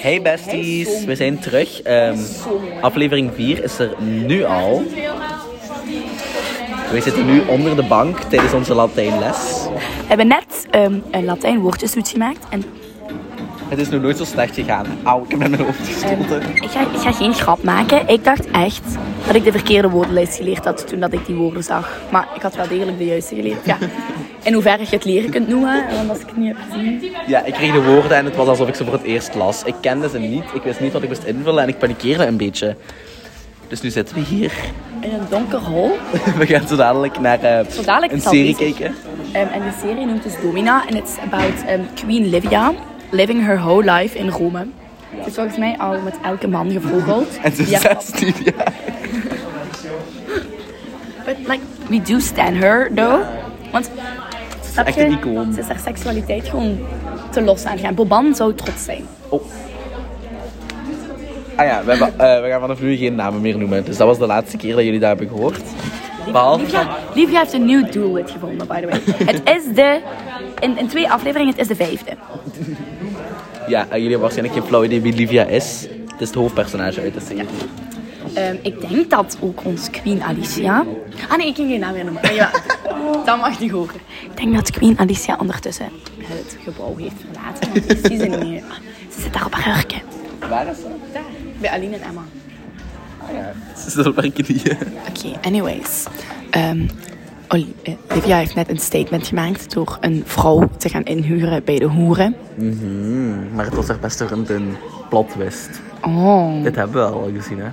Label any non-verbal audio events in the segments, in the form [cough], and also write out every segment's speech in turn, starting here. Hey besties, we zijn terug. Ehm, aflevering 4 is er nu al. We zitten nu onder de bank tijdens onze Latijnles. We hebben net ehm, een Latijn woordjestoets gemaakt. En Het is nog nooit zo slecht gegaan. Auw, ik heb met mijn hoofd gestoten. ik ga, ik ga geen grap maken. Ik dacht echt dat ik de verkeerde woordenlijst geleerd had toen dat ik die woorden zag. Maar ik had wel degelijk de juiste geleerd. [laughs] Ja. In hoeverre je het leren kunt noemen, want als ik het niet heb gezien. Ja, ik kreeg de woorden en het was alsof ik ze voor het eerst las. Ik kende ze niet, ik wist niet wat ik moest invullen en ik panikeerde een beetje. Dus nu zitten we hier. [laughs] In een donker hol. We gaan zo dadelijk naar eh, Zo dadelijk een is het al serie bezig. kijken. Ehm, en de serie noemt dus Domina. En it's about ehm, Queen Livia living her whole life in Rome. Ze is volgens mij al met elke man gevogeld. En ze Ja. is 16 jaar. But like, we do stan her though. Want snap echt je, een icoon. Ze is haar seksualiteit gewoon te los aan gaan. Boban zou trots zijn. Oh. Ah ja, we, hebben, eh, we gaan vanaf nu geen namen meer noemen. Dus dat was de laatste keer dat jullie dat hebben gehoord. Behalve van... Livia, Livia heeft een nieuw doelwit gevonden, by the [laughs] way. het is de. In, in twee afleveringen, het is de vijfde. Ja, eh, jullie hebben waarschijnlijk geen flauw idee wie Livia is. Het is het hoofdpersonage uit de serie. Ehm, ik denk dat ook ons Queen Alicia. Ah nee, ik kan geen naam meer noemen. Ah, [laughs] Ja, dat mag niet horen. Ik denk dat Queen Alicia ondertussen het gebouw heeft verlaten. Want die is er niet [laughs] meer. Ah, Ze zit daar op haar hurken. Waar is ze? Daar, bij Aline en Emma. Ah ja, ze zit op haar knieën. Oké, anyways. Ehm, Oli- eh, Olivia heeft net een statement gemaakt door een vrouw te gaan inhuren bij de hoeren. Maar het was haar beste vriendin. Plot twist. Oh, Dit hebben we al gezien, hè?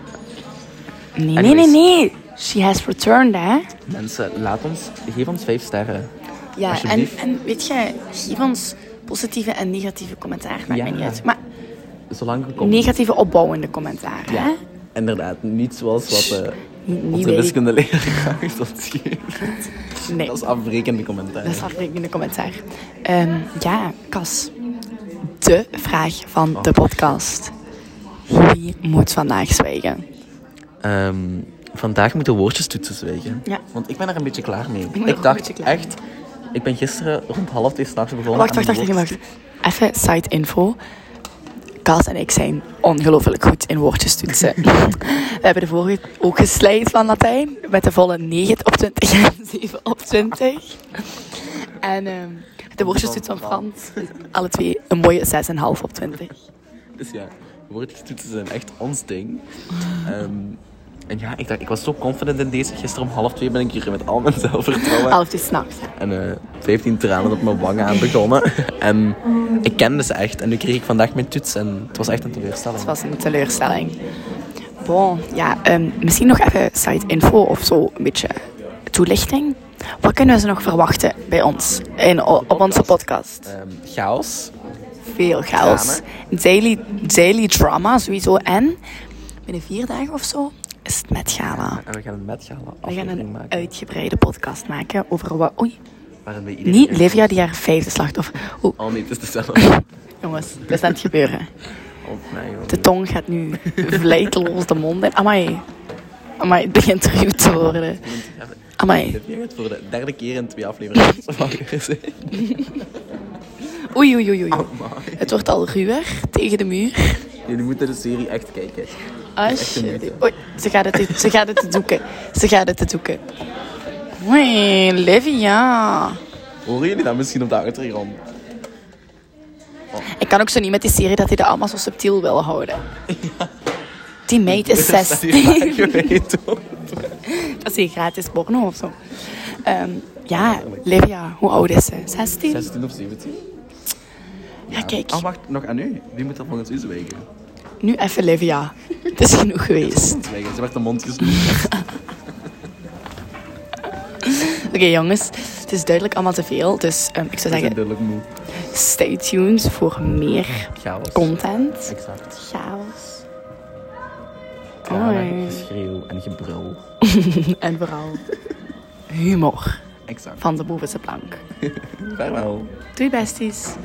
nee, nee, nee, nee. She has returned, hè? Mensen, laat ons, geef ons vijf sterren. Ja, en, Alsjeblieft. en weet je, geef ons positieve en negatieve commentaar. Maakt Ja. mij niet uit. Maar Zolang je komt. negatieve opbouwende commentaar, hè? Ja, inderdaad. Niet zoals wat eh Niet- niet onze weet- [laughs] wiskundeleraar ons geeft. Nee, Dat is afbrekende commentaar. dat is afrekende commentaar. Ehm, ja, Cas. De vraag van Oh. de podcast. Wie moet vandaag zwijgen? Ehm, vandaag moeten woordjes toetsen zwijgen. Ja. Want ik ben er een beetje klaar mee. Ik, er ook een dacht beetje klaar echt... Ik ben gisteren rond half twee s'nachts begonnen Wacht, aan wacht, wacht, die wacht, woord- wacht. Even side info. Kaas en ik zijn ongelooflijk goed in woordjes toetsen. We hebben de vorige ook geslijt van Latijn. Met de volle 9 op 20 en 7 op 20. En ehm, de woordjes toetsen van Frans. Alle twee een mooie 6,5 op 20. Dus ja, woordjes toetsen zijn echt ons ding. Ehm, en ja, ik, dacht, ik was zo confident in deze. Gisteren om half twee ben ik hier met al mijn zelfvertrouwen... Half uur s'nachts. En eh 15 tranen op mijn wangen aan [laughs] begonnen. en ik kende ze echt. En nu kreeg ik vandaag mijn toets. En het was echt een teleurstelling. Het was een teleurstelling. Bon, ja, ehm, misschien nog even site info of zo, een beetje toelichting. Wat kunnen ze nog verwachten bij ons, in, op onze podcast? Ehm, chaos. Veel chaos. Daily, daily drama sowieso. En binnen vier dagen of zo is het met gala. En we gaan een metgala Ah. We gaan aflevering een maken. uitgebreide podcast maken over wat... Oei, Waarin we iedereen... niet Livia die haar vijfde slachtoffer... Oeh, Oh nee, het is [laughs] dezelfde. jongens, dat is aan het gebeuren. Oh, nee, joh. De tong gaat nu vlijteloos de mond in. Amai. Amai, het begint ruw te worden. Amai. Heb jij het voor de derde keer in twee afleveringen [laughs] van gezegd? Oei, oei, oei, oei. Oh Het wordt al ruwer tegen de muur. Jullie moeten de serie echt kijken. Alsjeblieft. Oei, ze gaat het, ze gaat het doeken. Ze gaat het doeken. Oei, Livia. Horen jullie dat misschien op de achtergrond? Ik kan ook zo niet met die serie dat hij dat allemaal zo subtiel wil houden. Die meid is [laughs] Dat is hier 16. vaak geweest, hoor. [laughs] Dat is hier gratis porno of zo. Ehm, ja, Livia, hoe oud is ze? 16? 16 of 17? Ja, kijk. Oh, wacht, nog aan u. Wie moet dat volgens u zwijgen? Nu even Livia. Het is genoeg geweest. Zwijgen, ze werd de mond gesnoerd. Oké jongens, het is duidelijk allemaal te veel. Dus ehm, ik zou Ze zijn zeggen, duidelijk moe. stay tuned voor meer Chaos. content. Exact. Chaos. Tranen, Oei. geschreeuw en gebrul. En vooral humor Exact. van de bovenste plank. [laughs] Vaarwel. Doei besties.